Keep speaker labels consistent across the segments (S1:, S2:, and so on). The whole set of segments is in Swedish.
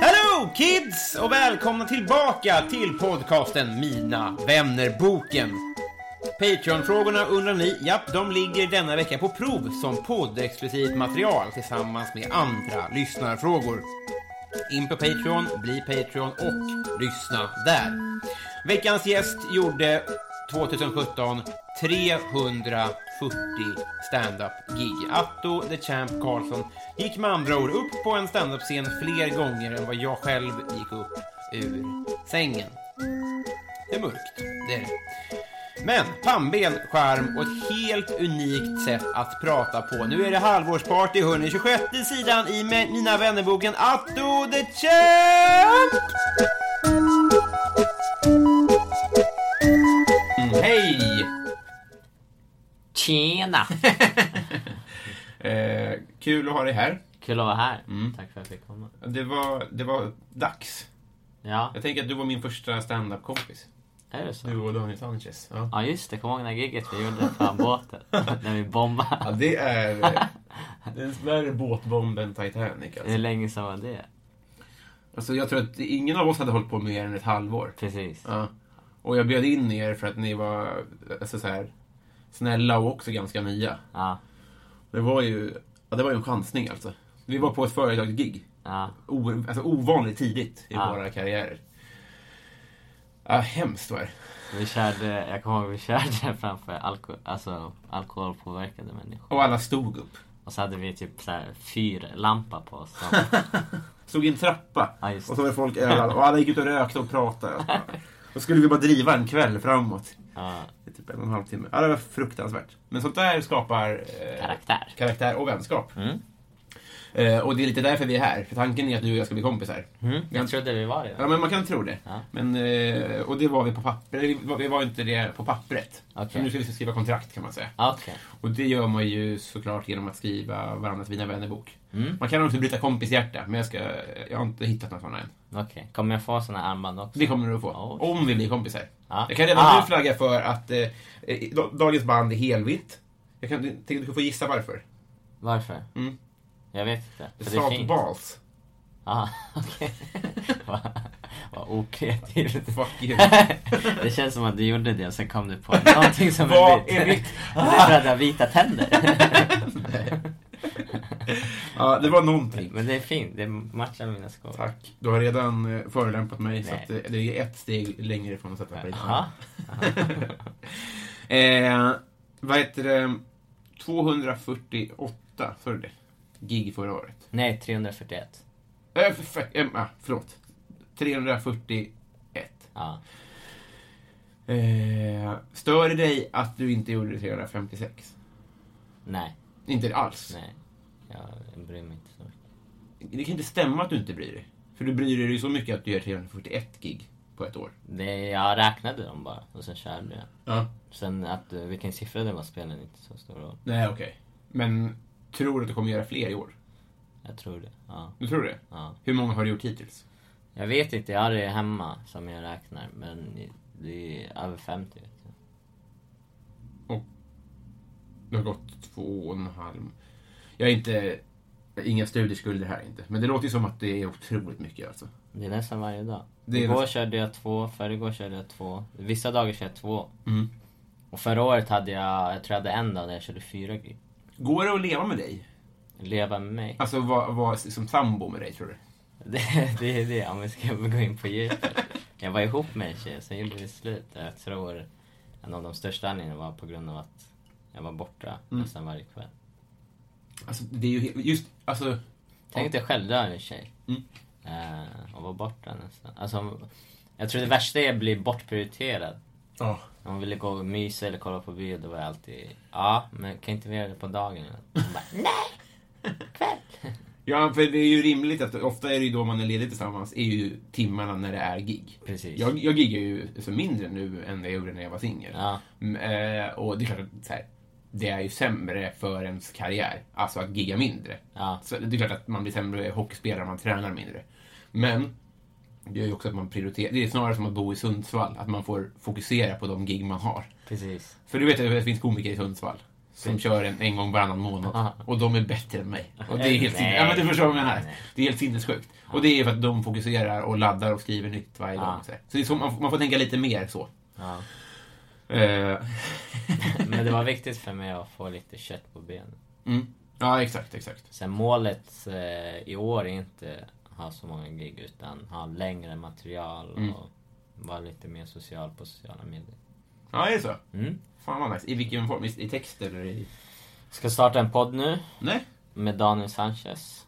S1: Hello kids och välkomna tillbaka till podcasten Mina vännerboken. Patreon-frågorna undrar ni, japp, de ligger denna vecka på prov som poddexklusivt material tillsammans med andra lyssnarfrågor. In på Patreon, bli Patreon och lyssna där. Veckans gäst gjorde 2017 340 standup-gig. Atto the Champ Karlsson gick med andra ord upp på en standup-scen fler gånger än vad jag själv gick upp ur sängen. Det är mörkt, det är det. Men pannben, skärm och ett helt unikt sätt att prata på. Nu är det halvårsparty, hörni. 26 sidan i Me- Mina vännerboken Atto the Champ! Mm, hej!
S2: Tjena!
S1: Eh, kul att ha dig här.
S2: Kul att vara här.
S1: Mm.
S2: Tack för att jag fick komma.
S1: Det var, det var dags.
S2: Ja,
S1: Jag tänker att du var min första standup-kompis.
S2: är det så?
S1: Du och Daniel Sanchez. Ja.
S2: Ja just det, kommer du ihåg det här giget vi gjorde fram båten? När vi bombade.
S1: det är... eh, Det är värre båtbomb än Titanic
S2: Hur
S1: alltså.
S2: länge sedan var det?
S1: alltså. Jag tror att ingen av oss hade hållit på mer än ett halvår.
S2: Precis.
S1: Ja. Och jag bjöd in er för att ni var alltså, så här, snälla och också ganska nya.
S2: Ja,
S1: Det var ju, ja, det var ju en chansning alltså. Vi var på ett företagsgig.
S2: ja.
S1: O, alltså ovanligt tidigt i
S2: Ja.
S1: våra karriärer. Ja, hemskt var det.
S2: Vi körde, jag kommer ihåg vi körde framför alko, alltså, alkoholpåverkade människor.
S1: Och alla stod upp.
S2: Och så hade vi typ så här fyrlampa på oss. Som,
S1: Stod i en trappa.
S2: Ja,
S1: och
S2: just
S1: så var det folk överallt. Och alla gick ut och rökte och pratade. Då skulle vi bara driva en kväll framåt.
S2: ja,
S1: I typ en och en halv timme. Ja, det var fruktansvärt. Men sånt där skapar eh,
S2: karaktär.
S1: karaktär och vänskap.
S2: Mm.
S1: Eh, och det är lite därför vi är här. För tanken är att du och jag ska bli kompisar. Mm.
S2: Jag trodde vi var
S1: Ja,
S2: det.
S1: men man kan tro det.
S2: Mm. Ja.
S1: Men, eh, och det var vi på pappret. Vi var, vi var inte det på pappret.
S2: Okej.
S1: Så nu ska vi skriva kontrakt kan man säga.
S2: Okej.
S1: Och det gör man ju såklart genom att skriva varandras mina vänner-bok.
S2: Mm.
S1: Man kan också bryta kompishjärta, men jag, ska, jag har inte hittat några sådana än.
S2: Okej. Kommer jag få såna armband också?
S1: Det kommer du att få.
S2: Oh,
S1: om vi blir kompisar.
S2: Ja.
S1: Jag kan redan nu
S2: Ah.
S1: flagga för att eh, eh, dagens band är helvitt. Jag kan, tänk att du kan få gissa varför.
S2: Varför?
S1: Mm.
S2: Jag vet inte. För det är
S1: Salt
S2: fint.
S1: balls.
S2: Ah, okej. Vad- Vad okreativt.
S1: Fuck you.
S2: det känns som att du gjorde det och sen kom du på någonting som
S1: Vad
S2: är vitt.
S1: är vitt?
S2: Det är för att du har vita tänder.
S1: ja, det var någonting.
S2: Men det är fint, det matchar mina skor.
S1: Tack. Du har redan eh, förolämpat mig så
S2: Nej.
S1: att, eh, det är ett steg längre ifrån att sätta mig
S2: Jaha.
S1: eh, Vad heter det? 248, sa du det? Gig förra året.
S2: Nej, 341.
S1: Äh, för, för, äh, ah, förlåt. 341.
S2: Ja.
S1: Eh, stör det dig att du inte gjorde 356?
S2: Nej,
S1: Inte alls.
S2: nej. Jag bryr mig inte så mycket.
S1: Det kan inte stämma att du inte bryr dig. För du bryr dig ju så mycket att du gör 341 gig på ett år.
S2: Det, jag räknade dem bara och sen körde jag.
S1: Ja.
S2: Sen att eh, vilken siffra det var spelade inte så stor roll.
S1: Nej, okej. Men tror du att du kommer göra fler i år?
S2: Jag tror det. Ja.
S1: Du tror det?
S2: ja.
S1: Hur många har du gjort hittills?
S2: Jag vet inte, jag har det hemma som jag räknar. Men det är över 50 vet jag.
S1: Det har gått två och en halv. Jag är inte... Inga studieskulder här inte. Men det låter ju som att det är otroligt mycket alltså.
S2: Det är nästan varje dag.
S1: Det är
S2: Igår
S1: nästan-
S2: körde jag två, förrgår körde jag två. Vissa dagar kör jag två.
S1: Mm.
S2: Och förra året hade jag, jag tror jag hade en dag där jag körde fyra gig.
S1: Går det att leva med dig?
S2: Leva med mig.
S1: Alltså vara var som sambo med dig, tror du?
S2: Det, det är det, om vi ska gå in på djupet. Jag var ihop med en tjej, sen gjorde vi slut. Jag tror en av de största anledningarna var på grund av att jag var borta
S1: Mm.
S2: nästan varje kväll.
S1: Alltså, det är ju he- just... Alltså,
S2: Tänk dig själv, du har en tjej.
S1: Mm.
S2: Eh, och var borta nästan. Alltså, jag tror det värsta är att bli bortprioriterad.
S1: ja.
S2: Om hon ville gå och mysa eller kolla på bio, då var jag alltid ja, men kan inte vi göra det på dagen? Hon bara,
S1: Ja, för det är ju rimligt att ofta är det ju då man är ledig tillsammans, är ju timmarna när det är gig.
S2: Precis.
S1: Jag, jag giggar ju så mindre nu än jag gjorde när jag var singel.
S2: Ja.
S1: Mm, eh, och det är klart att så här, det är ju sämre för ens karriär, alltså att gigga mindre.
S2: Ja.
S1: Så det är klart att man blir sämre hockeyspelare om man tränar mindre. Men det gör ju också att man prioriterar. Det är snarare som att bo i Sundsvall, att man får fokusera på de gig man har.
S2: precis.
S1: För du vet ju att det finns komiker i Sundsvall som kör en, en gång varannan månad.
S2: Aha.
S1: Och de är bättre än mig. Och det är helt
S2: Nej.
S1: sinnes- ja, men du förstår vad jag menar.
S2: Nej.
S1: Det är helt sinnessjukt. Och det är för att de fokuserar och laddar och skriver nytt varje
S2: Ja.
S1: gång. Så, här. så det är så man, får- man får tänka lite mer så.
S2: Ja.
S1: Eh,
S2: Men det var viktigt för mig att få lite kött på benen.
S1: mm. Ja, exakt, exakt.
S2: Sen målet eh, i år är inte att ha så många gig utan ha längre material och
S1: Mm.
S2: vara lite mer social på sociala medier.
S1: Ja, är det så?
S2: Mm.
S1: Fan vad nice. I vilken form? I, i text eller i...
S2: Ska starta en podd nu
S1: Nej,
S2: med Daniel Sanchez.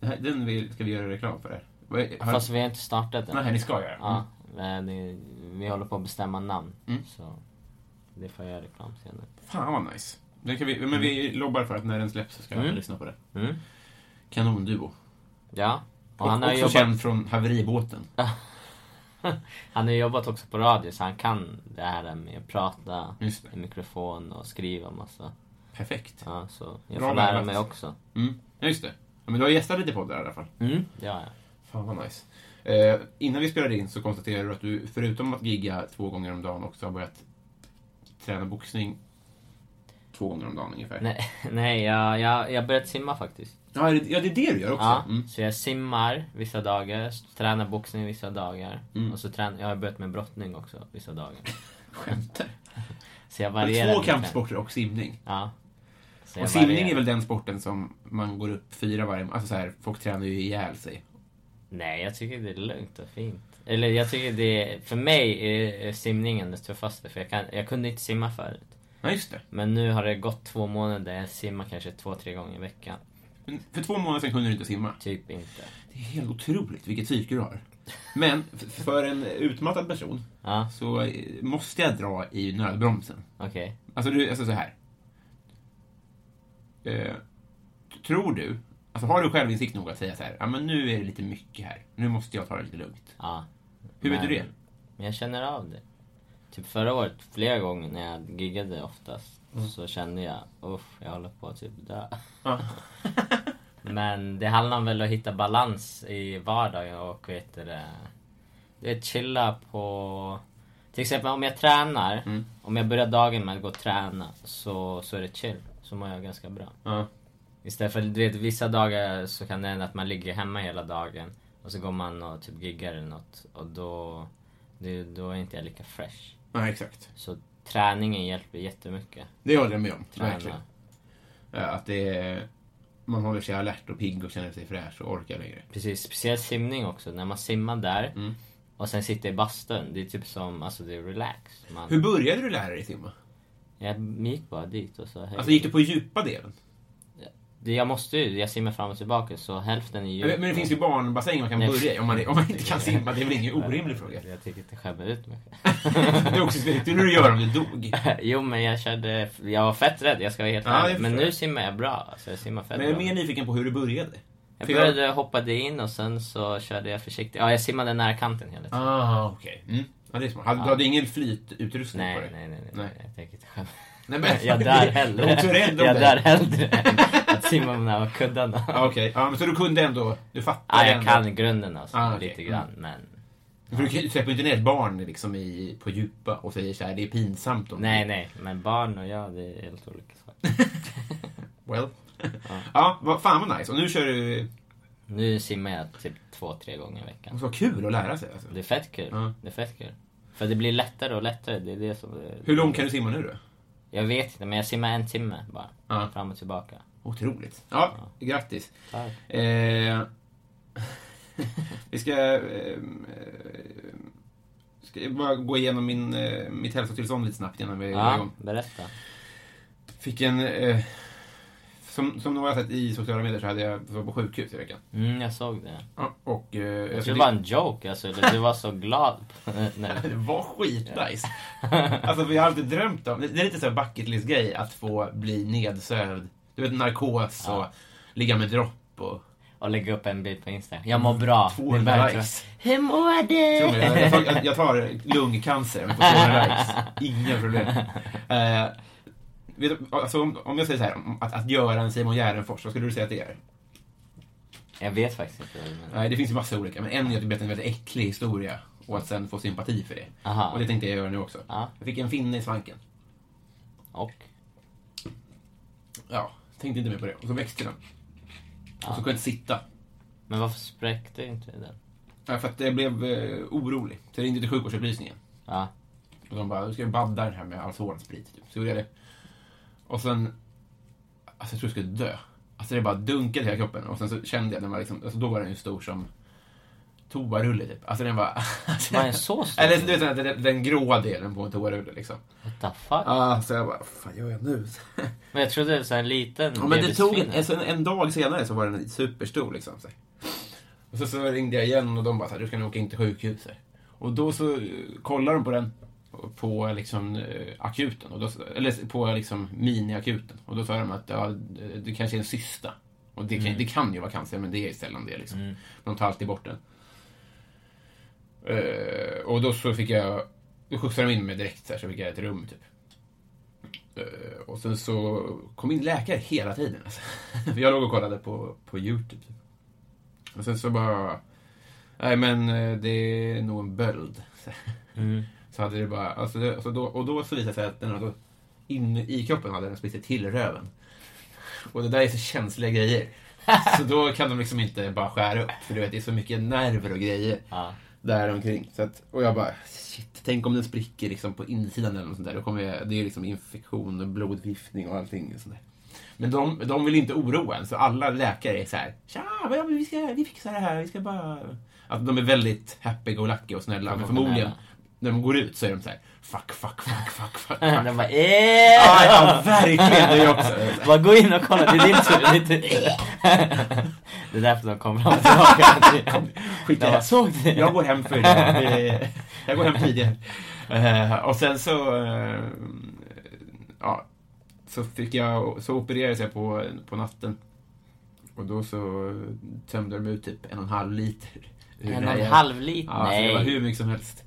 S1: det här, den vill, ska vi göra reklam för. Här. Vad är- Har,
S2: Fast vi har inte startat den.
S1: Nej, ni ska göra.
S2: Ja, men det- vi håller på att bestämma namn.
S1: Mm.
S2: Så det får jag göra reklam senare.
S1: Fan vad nice. Den kan vi, men vi lobbar för att när den släpps så ska
S2: Mm.
S1: vi lyssna på det.
S2: Mm.
S1: Kanonduo.
S2: Ja. Och
S1: Och,
S2: han, har
S1: också
S2: jobbat,
S1: känd från haveribåten.
S2: han har jobbat också på radio så han kan det här med att prata
S1: Just det.
S2: i mikrofon och skriva massa.
S1: Perfekt.
S2: Ja, så jag
S1: Bra
S2: får lära
S1: lärat.
S2: mig också.
S1: Mm. Ja, just det. Ja, men du har gästat lite poddar i alla fall.
S2: Mm. Ja, ja.
S1: Fan vad nice. Eh, innan vi spelade in så konstaterade du att du förutom att gigga två gånger om dagen också har börjat träna boxning två gånger om dagen ungefär.
S2: Nej, nej jag, jag, jag börjat simma faktiskt.
S1: Ja, är det, ja, det är det du gör också.
S2: Ja,
S1: Mm.
S2: Så jag simmar vissa dagar, s- tränar boxning vissa dagar.
S1: Mm.
S2: Och så tränar, jag har börjat med brottning också vissa dagar.
S1: Skämtar
S2: Så jag varierar.
S1: Två
S2: min träning.
S1: kampsporter och simning.
S2: Ja. Så jag
S1: Och simning
S2: varierar.
S1: är väl den sporten som man går upp fyra varje... Alltså så här, folk tränar ju ihjäl sig.
S2: Nej, jag tycker det är lugnt och fint. Eller jag tycker det är, för mig är är simningen det tuffaste för jag, kan, jag kunde inte simma förut.
S1: Ja, just det.
S2: Men nu har det gått två månader, jag simmar kanske två, tre gånger i veckan.
S1: Men För två månader sedan kunde du inte simma.
S2: Typ inte.
S1: Det är helt otroligt vilket psyke du har. Men f- för en utmattad person
S2: Ja,
S1: så eh, måste jag dra i nödbromsen.
S2: okej.
S1: Alltså, du, alltså så här. Eh, tror du, alltså har du självinsikt nog att säga så här, ja men nu är det lite mycket här, nu måste jag ta det lite lugnt.
S2: Ja.
S1: Hur vet
S2: Men-
S1: du det?
S2: Men jag känner av det. Typ förra året, flera gånger när jag giggade oftast, så kände jag uff, jag håller på att typ dö.
S1: Ja.
S2: Men det handlar väl om att hitta balans i vardagen och vet du det, det är chilla på... Till exempel om jag tränar, om jag börjar dagen med att gå och träna så, så är det chill. Så mår jag ganska bra.
S1: Ja.
S2: Istället för, du vet, vissa dagar så kan det hända att man ligger hemma hela dagen och så går man och typ giggar eller något och då, det, då är inte jag lika fresh.
S1: ja, exakt.
S2: Så träningen hjälper jättemycket.
S1: Det håller jag med om. Verkligen.
S2: Träna.
S1: Ja, att det är, man håller sig alert och pigg och känner sig fräsch och orkar längre.
S2: Precis, speciellt simning också. När man simmar där
S1: Mm.
S2: och sen sitter i bastun. Det är typ som, alltså det är relax. Man,
S1: Hur började du lära dig simma?
S2: jag gick bara dit och så...
S1: Alltså gick du på djupa delen?
S2: Det- Jag måste ju, jag simmar fram och tillbaka så hälften är ju...
S1: Men men det finns ju barnbassäng man kan
S2: Nej.
S1: börja i om man, om man inte kan simma. Det är väl ingen orimlig fråga?
S2: Jag tycker inte skämmer ut mig.
S1: Det är också speciellt hur du gör om du dog.
S2: Jo men jag körde, jag var fett rädd, jag ska vara helt
S1: Ja,
S2: ärlig.
S1: det
S2: Men
S1: förstår
S2: nu
S1: jag.
S2: simmar jag bra. Alltså, jag simmar fett
S1: Men jag är
S2: bra.
S1: mer nyfiken på hur du började.
S2: Jag
S1: För
S2: började, hoppade in och sen så körde jag försiktigt. Ja, jag simmade nära kanten hela tiden.
S1: Ah, okej. Mm. Ja, det är smart. Hade- Du hade ingen flytutrustning
S2: Nej,
S1: på dig?
S2: nej, nej, nej,
S1: Nej.
S2: Jag tänker inte själv.
S1: Nej, men-
S2: Jag dör
S1: Jag
S2: hellre.
S1: är också rädd om
S2: jag
S1: det.
S2: dör hellre än att simma nära kuddarna.
S1: Ah, okej. Ja, men så du kunde ändå... Du fattade
S2: Ja, jag
S1: ändå.
S2: kan grunden alltså,
S1: Ah, okej.
S2: lite grann. Men
S1: För du kan- du släpper ju inte ner ett barn liksom i, på djupa och säger så här, det är pinsamt om
S2: nej, nej. Men barn och jag, det är helt olika saker.
S1: Well. Ja, vad, fan vad nice. Och nu kör du...
S2: Nu simmar jag typ två, tre gånger i veckan.
S1: Och så kul att lära sig. Alltså.
S2: Det är fett kul.
S1: Ja.
S2: Det är fett kul. För det blir lättare och lättare. Det är det som...
S1: Hur långt kan du simma nu då?
S2: Jag vet inte, men jag simmar en timme bara.
S1: Ja.
S2: Fram och tillbaka.
S1: Otroligt. Ja, grattis. Eh, vi ska, eh, eh, ska jag bara gå igenom min, eh, mitt hälsotillstånd lite snabbt innan vi går
S2: Ja,
S1: igång.
S2: berätta.
S1: Fick en... Eh, som, som några har sett i sociala medier så hade jag var på sjukhus i veckan.
S2: Mm, jag såg det.
S1: Ja, och, eh, jag
S2: Jag
S1: fick-
S2: trodde det var en joke alltså, eller du var så glad. Nej.
S1: Det var skitnice. Alltså för jag har alltid drömt om, det är lite så här bucket list grej att få bli nedsövd. Du vet narkos och ligga med dropp och...
S2: Och lägga upp en bild på Instagram. Jag mår bra. Det är
S1: 200
S2: verkligen-
S1: likes.
S2: Hur mår du?
S1: Tror Jag, jag, tar, jag, jag tar lungcancer på 200 likes. Inga problem. Eh, vet, du, alltså om, om jag säger så här, om att, att göra en Simon Gärdenfors, vad skulle du säga att det är?
S2: Jag vet faktiskt inte. vad du menar.
S1: Nej, det finns ju massa olika, men en är att du berättar en väldigt äcklig historia och att sen få sympati för det.
S2: Aha.
S1: Och det tänkte jag göra nu också.
S2: Ja.
S1: Jag fick en finne i svanken.
S2: Och?
S1: Ja, tänkte inte mer på det. Och så växte den. Och så kunde jag inte sitta.
S2: Men varför spräckte inte den?
S1: Ja, för att jag blev eh, orolig. Så jag ringde till sjukvårdsupplysningen.
S2: Ja.
S1: Och de bara, du ska ju badda den här med alkoholsprit. Typ. Så gjorde jag det. Och sen, alltså jag tror jag skulle dö. Alltså det bara dunkade i hela kroppen. Och sen så kände jag, den var liksom, alltså då var den ju stor som toarulle typ. Alltså den var... Alltså,
S2: Var den så stor?
S1: Eller du vet den, den, den gråa delen på en toarulle liksom.
S2: What the fuck?
S1: Ja, så jag bara, vad fan gör jag nu?
S2: Men jag trodde det var så här en liten
S1: Ja, men det tog en,
S2: bebisfinne.
S1: alltså en, en dag senare så var den superstor. Liksom, så. här. Och så, så ringde jag igen och de bara så här, du ska nog åka in till sjukhuset. Och då så eh, kollade de på den på liksom, eh, akuten, och då, eller på liksom, miniakuten. Och då sa de att ja, det kanske är en cysta. Och det kan, det kan ju vara cancer, men det är sällan det. Liksom. De tar alltid bort den. Eh, och då så fick jag, då skjutsade de in mig direkt så, här, så fick jag ett rum typ. Eh, Och sen så kom in läkare hela tiden. Alltså. För Jag låg och kollade på, på Youtube. Och sen så bara... Nej men eh, det är nog en böld. Så, så hade det bara... Alltså, det, alltså då, och då så visade det sig att den hade, inne i kroppen hade den spritt sig till röven. Och det där är så känsliga grejer. Så då kan de liksom inte bara skära upp. För du vet, det är så mycket nerver och grejer
S2: Ja.
S1: där omkring. Så att, och jag bara, shit, tänk om den spricker liksom på insidan eller något sånt där. Då kommer jag, det är ju liksom infektion och blodförgiftning och allting. Och sånt där. Men de, de vill inte oroa en, så alla läkare är så här, tja, men vi, ska, vi fixar det här, vi ska bara... Alltså, de är väldigt happy-go-lucky och snälla, men förmodligen, när de går ut så är de så här, fuck, fuck, fuck, fuck, fuck. fuck.
S2: Den bara
S1: Ja,
S2: eh!
S1: Ah, ja, verkligen, det är jag också.
S2: Bara gå in och kolla, det är din tur. Det är, din... det är därför de kommer fram och tillbaka.
S1: Skit i
S2: Jag bara,
S1: det.
S2: såg det.
S1: Jag går hem för idag. Det- Jag går hem tidigare. Eh, Och sen så... eh, Ja, så fick jag... Så opererades jag på, på natten. Och då så tömde de ut typ en och en halv liter. ur
S2: En
S1: den
S2: och
S1: här
S2: en
S1: jävla-
S2: halv liter?
S1: Ja, så det var
S2: Nej.
S1: hur mycket som helst.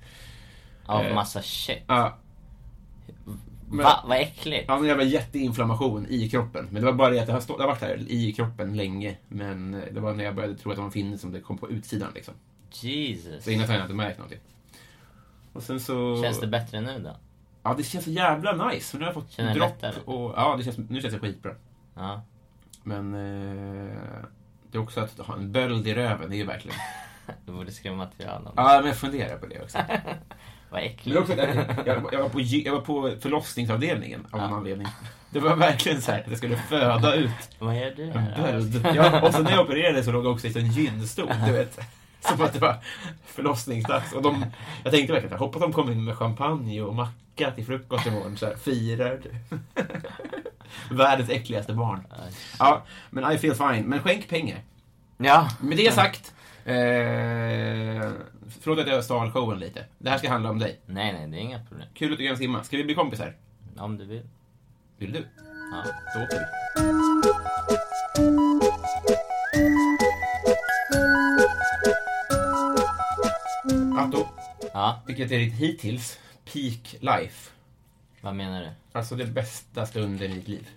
S2: Av massa shit.
S1: Ja, men-
S2: Va, vad äckligt.
S1: Ja, men det var jätteinflammation i kroppen. Men det var bara det att det har, stå, det har varit här i kroppen länge. Men eh, det var när jag började tro att det var en finne som det kom på utsidan liksom.
S2: Jesus.
S1: Så innan så hade jag inte märkt någonting. Och sen så...
S2: Känns det bättre nu då?
S1: Ja, det känns så jävla nice. För nu har jag
S2: Känner
S1: fått
S2: jag
S1: dropp.
S2: lättare?
S1: Och, ja, det känns, nu känns det skitbra.
S2: Ja.
S1: Men eh, det är också att ha en böld i röven, det är ju verkligen...
S2: Du borde skriva material om det.
S1: Ja, men jag funderar på det också.
S2: Vad
S1: Men det är
S2: äckligt.
S1: också att jag, jag, var på, gy- jag var på förlossningsavdelningen av någon anledning. Det var verkligen så här att jag skulle föda ut
S2: Vad gör du
S1: en
S2: här?
S1: böld. Ja, och sen när jag opererade så låg jag också i en gynstol, du vet. Som att det var förlossningsdags. Och de, jag tänkte verkligen, jag hoppas de kommer in med champagne och macka till frukost imorgon. Så här, firar du? Världens äckligaste barn. Ja, men I feel fine. Men skänk pengar.
S2: Ja.
S1: Med det sagt. Eh, förlåt att jag stal showen lite. Det här ska handla om dig.
S2: Nej, nej, det är inga problem.
S1: Kul att du kan simma. Ska vi bli kompisar?
S2: Om du vill.
S1: Vill du?
S2: Ja.
S1: Då åker vi. Atto,
S2: Ja,
S1: vilket är ditt hittills peak life?
S2: vad menar du?
S1: Alltså den bästa stunden i ditt liv.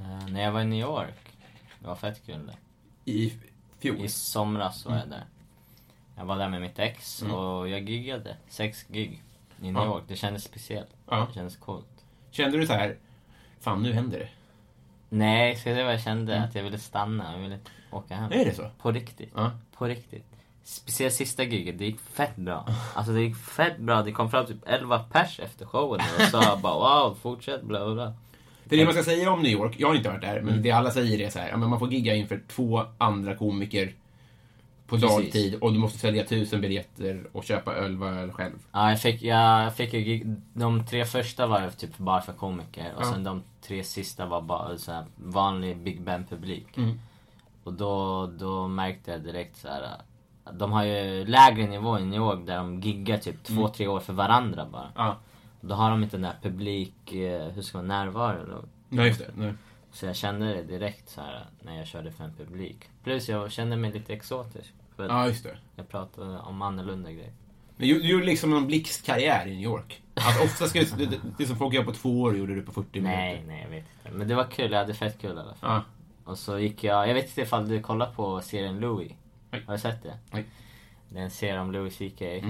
S2: Eh, när jag var i New York. Det var fett kul det.
S1: I fjol.
S2: I somras
S1: Mm.
S2: var jag där. Jag var där med mitt ex och jag giggade. Sex gig i New
S1: Ja.
S2: York. Det kändes speciellt.
S1: Ja.
S2: Det kändes coolt.
S1: Kände du så här, fan nu händer det? Mm.
S2: Nej, så det var jag kände. Att jag ville stanna. Jag ville inte åka hem.
S1: Är det så?
S2: På riktigt.
S1: Ja.
S2: På riktigt. Speciellt sista giget, det gick fett bra. Alltså det gick fett bra. Det kom fram typ 11 pers efter showen och sa bara wow, fortsätt bla bla bla.
S1: Det är det man ska säga om New York. Jag har inte varit där, men det alla säger är så här, ja, men man får gigga inför två andra komiker på dagtid och du måste sälja tusen biljetter och köpa öl var öl själv.
S2: Ja, jag fick, jag fick ju gig, de tre första var ju typ bara för komiker och sen de tre sista var bara så här, vanlig Big Ben publik. Och då, då märkte jag direkt så här. att De har ju lägre nivå i New York där de giggar typ två, tre år för varandra bara.
S1: Ja,
S2: Då har de inte den där publik, eh, hur ska man närvaro då?
S1: ja just det. Nej.
S2: Så jag kände det direkt så här när jag körde för en publik. Plus jag kände mig lite exotisk. För att
S1: Ja, just det.
S2: jag pratade om annorlunda grejer.
S1: Men du, du gjorde liksom en blixtkarriär i New York. Alltså, ofta ska det, det, det som folk gör på två år gjorde du på 40
S2: Nej,
S1: minuter.
S2: nej jag vet inte. Men det var kul, jag hade fett kul i alla fall.
S1: Ja.
S2: Och så gick jag, jag vet inte ifall du kollar på serien Louis?
S1: Nej.
S2: Har du sett det?
S1: Nej. Mm.
S2: Det är en serie om Louis CK. Eh,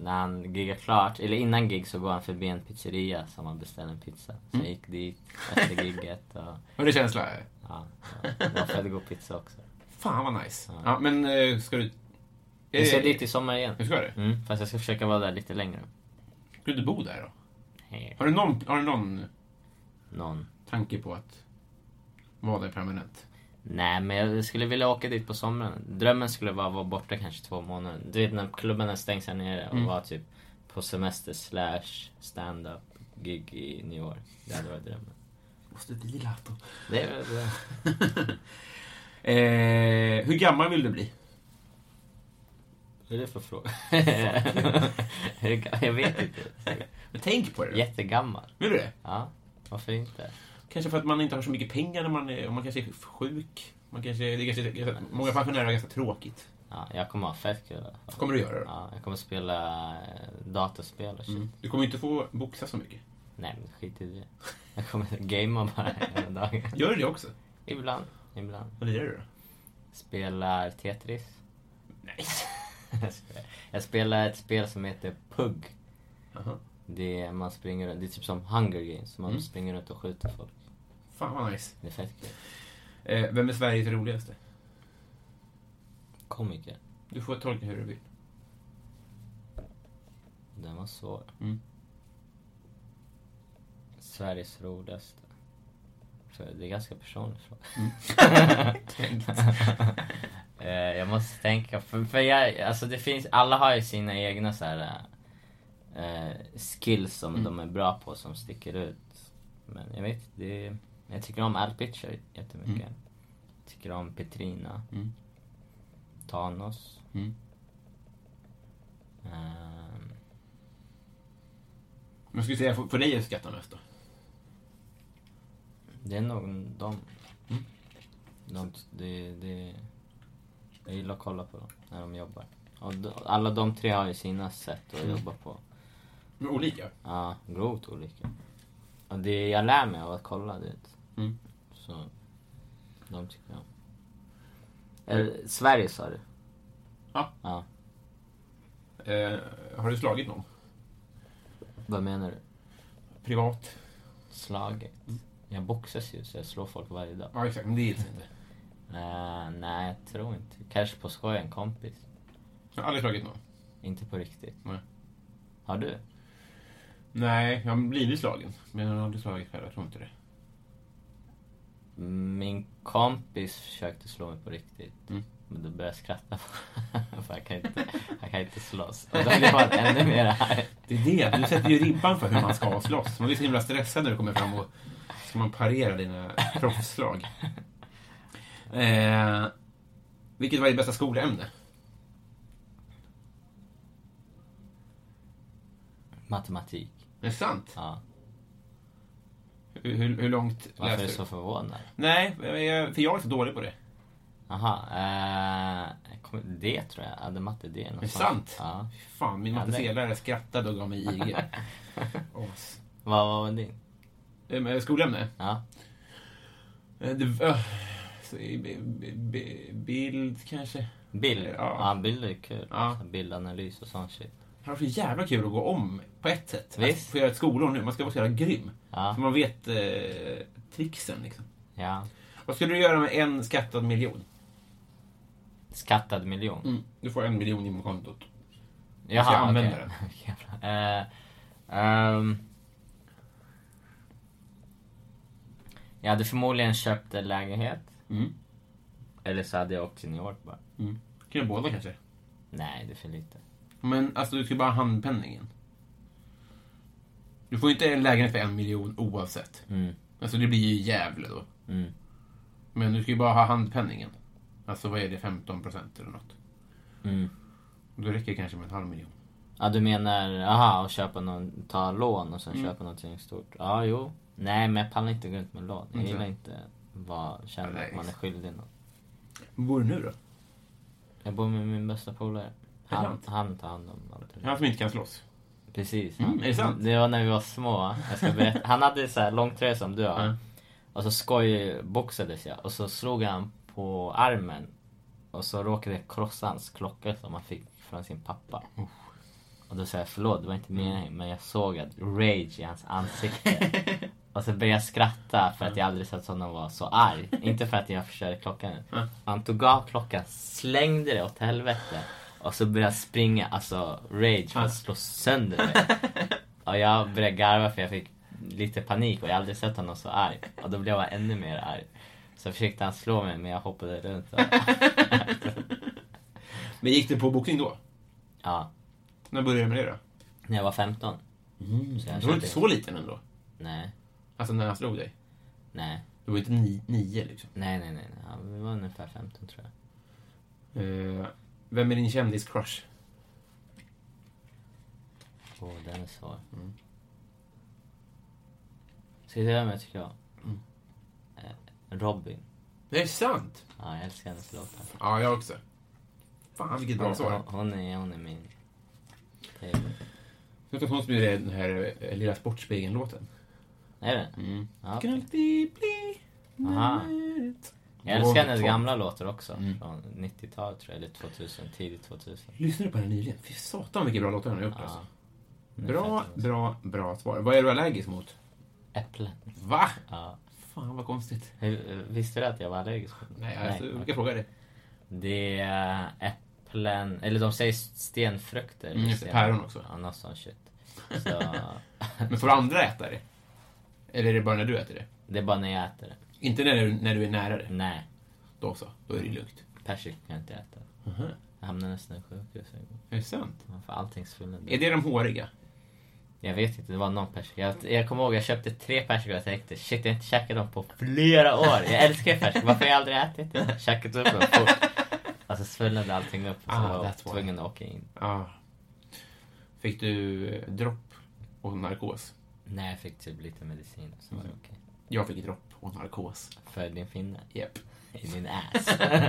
S2: när han giggar klart, eller innan gig så går han förbi en pizzeria som han beställer en pizza. Så
S1: Mm.
S2: jag gick dit efter gigget och
S1: Var det känsla?
S2: ja, det var fett god pizza också.
S1: Fan vad nice. Ja. men eh, ska du...
S2: Vi ska
S1: Eh,
S2: dit i sommar igen.
S1: Nu ska du?
S2: Mm, fast jag ska försöka vara där lite längre.
S1: Ska du bo där då?
S2: Hej.
S1: Har du någon, har du någon
S2: Någon.
S1: tanke på att vara där permanent?
S2: Nej, men jag skulle vilja åka dit på sommaren. Drömmen skulle vara att vara borta kanske två månader. Du vet när klubbarna stängs här nere och
S1: Mm.
S2: vara typ på semester slash stand-up gig i New York. Det hade varit drömmen.
S1: Måste vila.
S2: Det är väl det.
S1: Eh, hur gammal vill du bli?
S2: Vad är det för fråga? jag vet inte.
S1: Men tänk på det. då.
S2: Jättegammal.
S1: Vill du det?
S2: Ja, varför inte?
S1: Kanske för att man inte har så mycket pengar när man är, om man kanske är sjuk. Man kanske, det är kanske, många pensionärer har ganska tråkigt.
S2: Ja, jag kommer ha fett kul. i alla fall.
S1: Kommer du göra det? Mm.
S2: Ja, jag kommer spela eh, datorspel och shit.
S1: Du kommer ju inte få boxa så mycket.
S2: Nej, men skit i det. Jag kommer gamea bara hela dagen.
S1: Gör du det också?
S2: Ibland, ibland.
S1: Vad lirar du då?
S2: Spelar Tetris.
S1: Nej.
S2: Jag spelar ett spel som heter Pug.
S1: Aha.
S2: Det är, man springer, runt- det är typ som Hunger Games, man springer runt och skjuter folk.
S1: Fan vad nice.
S2: Det är fett kul.
S1: Eh, vem är Sveriges roligaste?
S2: Komiker.
S1: Du får tolka hur du vill.
S2: Den var svår.
S1: Mm.
S2: Sveriges roligaste. För det är ganska personligt. fråga. Eh, jag måste tänka, för, för jag, alltså det finns, alla har ju sina egna så här, eh, skills som de är bra på som sticker ut. Men jag vet det, jag tycker om Al Pitcher jättemycket. Tycker om Petrina.
S1: Mm.
S2: Thanos.
S1: Mm.
S2: Ehm,
S1: Men ska vi säga, för, för dig är skrattar mest då?
S2: Det är nog de. Mm. de det, det, jag gillar att kolla på dem när de jobbar. Och de, alla de tre har ju sina sätt att
S1: Mm.
S2: jobba på.
S1: Men olika?
S2: Ja, grovt olika. Och det jag lär mig av att kolla det.
S1: Mm.
S2: Så de tycker jag om. Eller, Sverige sa du?
S1: Ja.
S2: Ja.
S1: Eh, har du slagit någon?
S2: Vad menar du?
S1: Privat?
S2: Slaget?
S1: Mm.
S2: Jag boxas ju så jag slår folk varje dag.
S1: Ja, exakt. Men det gills inte.
S2: Eh, nej, jag tror inte. Kanske på skoj, en kompis.
S1: Jag har aldrig slagit någon.
S2: Inte på riktigt.
S1: Nej.
S2: Har du?
S1: Nej, jag har blivit slagen. Men jag har aldrig slagit själv. Jag tror inte det.
S2: Min kompis försökte slå mig på riktigt.
S1: Mm.
S2: Men då började jag skratta. för jag kan inte, jag kan inte slåss. Och då blev han ännu mer arg.
S1: Det är det. Du sätter ju ribban för hur man ska slåss. Man blir så himla stressad när du kommer fram och ska man parera dina proffsslag. Eh, vilket var ditt bästa skolämne?
S2: Matematik.
S1: Är det sant?
S2: Ja.
S1: Hur, hur, hur långt
S2: Varför är du
S1: läste
S2: så
S1: du?
S2: förvånad?
S1: Nej, eh, jag- för jag är så dålig på det.
S2: Jaha. Eh, jag kommer- det tror jag. Jag hade matte D
S1: Är det
S2: någonstans.
S1: sant?
S2: Ja.
S1: Fy Fan, min
S2: Ja,
S1: matteselärare skrattade och gav mig IG. As.
S2: Vad vad var din?
S1: Eh, men Skolämne?
S2: Ja.
S1: Eh, Det, öh, så i- b- b- b- bild kanske?
S2: Bild.
S1: Ja.
S2: Ja, bild är kul.
S1: Ja.
S2: Så Bildanalys och sånt shit.
S1: Det har varit så jävla kul att gå om på ett sätt.
S2: Visst.
S1: Att få göra ett skolår nu. Man ska vara så jävla grym.
S2: Ja.
S1: Så man vet eh, tricksen liksom.
S2: Ja.
S1: Vad skulle du göra med en skattad miljon?
S2: skattad miljon.
S1: Mm. Du får en miljon in på kontot.
S2: Jaha,
S1: ska jag använda
S2: okej. Jävlar. Eh, ehm. jag hade förmodligen köpt en lägenhet.
S1: Mm.
S2: Eller så hade jag åkt till New York bara.
S1: Mm. Kan jag båda kanske?
S2: Nej, det är för lite.
S1: Men alltså du ska bara ha handpenningen. Du får ju inte en lägenhet för en miljon oavsett.
S2: Mm.
S1: Alltså det blir ju Gävle då.
S2: Mm.
S1: Men du ska ju bara ha handpenningen. Alltså vad är det, 15 procent eller något.
S2: Mm.
S1: Då räcker det kanske med en halv miljon.
S2: Ja, du menar, aha, och köpa någon, ta lån och sen
S1: Mm.
S2: köpa någonting stort. Ja, jo. Nej, men jag pallar inte gå runt med lån. Jag
S1: Inte?
S2: gillar inte vad känna
S1: Nej.
S2: att man är skyldig någon.
S1: Var bor du nu då?
S2: Jag bor med min bästa polare.
S1: det
S2: Han,
S1: sant?
S2: han tar hand om allt.
S1: Han som inte kan slåss.
S2: Precis.
S1: Mm, är det sant?
S2: Det var när vi var små. Jag ska berätta. Han hade så här långtröja som du har.
S1: Ja.
S2: Och så skojboxades jag och så slog han på armen. Och så råkade jag krossa hans klocka som han fick från sin pappa. Och då sa jag förlåt, det var inte
S1: Mm.
S2: meningen. Men jag såg att rage i hans ansikte. och så började Alltså, jag skratta för att jag aldrig sett honom vara så arg. inte för att jag förstörde klockan. Han tog av klockan, slängde det åt helvete. Och så började jag springa, alltså rage, för att slå sönder det. Och jag började garva för jag fick lite panik och jag har aldrig sett honom så arg. Och då blev jag ännu mer arg. Så försökte han slå mig men jag hoppade runt. Och,
S1: Men gick du på bokning då?
S2: ja,
S1: När började du med det då?
S2: när jag var 15. Mm, så jag
S1: Du var inte
S2: köpte-
S1: så liten ändå.
S2: Nej,
S1: Alltså när han slog dig.
S2: nej,
S1: Du var inte ni- nio liksom.
S2: nej, nej, nej. nej. Ja, vi var ungefär 15 tror jag.
S1: Eh, vem är din kändis-crush?
S2: Åh, den är svår. Mm. Ska jag säga vem jag tycker om?
S1: Mm.
S2: Eh, Robin.
S1: Det är sant!
S2: Ja, jag älskar hennes låtar.
S1: Ja, jag också. Fan vilket bra
S2: Hon,
S1: svar.
S2: hon, hon, är, hon är min... favorite.
S1: Jag tror att hon som gjorde den här eh, Lilla Sportspegeln-låten.
S2: Är det? Ja,
S1: Kan
S2: Mm. okej.
S1: alltid bli
S2: Aha.
S1: nöjd.
S2: Jag älskar hennes
S1: Två- Mm.
S2: gamla låtar också. Från 90-talet tror jag, eller 2000, tidigt 2000.
S1: Lyssnade du på den nyligen? Fy satan vilka bra låtar han har gjort alltså. Bra,
S2: fett. alltså.
S1: bra, bra svar. Vad är du allergisk mot?
S2: Äpplen.
S1: Va?
S2: Ja.
S1: Fan vad konstigt.
S2: Hur- Visste du att jag var allergisk? mot dem?
S1: Nej, alltså, jag
S2: okej.
S1: brukar fråga dig.
S2: Det är äpplen, eller de säger stenfrukter.
S1: Mm, just det,
S2: Sten-
S1: päron också.
S2: Ja, något sånt shit. Så,
S1: Men får andra äta det? Eller är det bara när du äter det?
S2: det är bara när jag äter det.
S1: Inte när du, när du är nära det?
S2: Nej,
S1: Då så. Då är det lugnt.
S2: persika kan jag inte äta.
S1: Aha.
S2: Jag hamnade nästan i sjukhus en gång.
S1: Är det sant?
S2: Man får allting svullet.
S1: Är det de håriga?
S2: Jag vet inte, det var någon persika. Jag, jag kommer ihåg jag köpte tre persikor och jag tänkte shit jag har inte käkat dem på flera år. Jag älskar persikor, varför har jag aldrig ätit det? Käkat upp dem fort. Alltså svullnade allting upp och så
S1: Ah,
S2: var jag
S1: that's why.
S2: tvungen att åka in.
S1: Ja. Fick du eh, dropp och narkos?
S2: Nej jag fick typ lite medicin och så var det
S1: Mm.
S2: okej.
S1: Jag fick dropp och narkos.
S2: För din finne.
S1: Japp.
S2: I din ass. ja,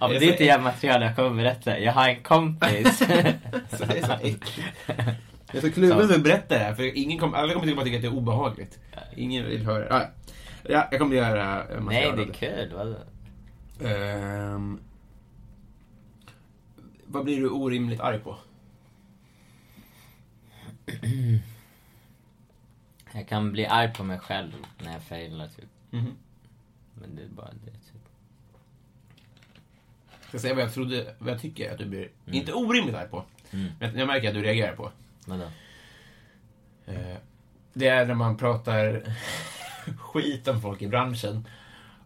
S2: men det är inte jävla material jag kommer berätta. Jag har en kompis.
S1: Så det är så äckligt. Jag är så kluven att berätta det här, för ingen kom, alla kommer bara tycka att det är obehagligt. Ingen vill höra det. Ah, ja. ja, jag kommer göra eh,
S2: Nej
S1: material
S2: det
S1: av
S2: är kul. Vadå?
S1: Ehm, vad blir du orimligt arg på?
S2: Jag kan bli arg på mig själv när jag failar typ.
S1: Mhm.
S2: Men det är bara det typ.
S1: Ska jag säga vad jag trodde, vad jag tycker att du blir, inte orimligt arg på, men jag märker att du reagerar på.
S2: Vadå?
S1: Eh, Det är när man pratar skit om folk i branschen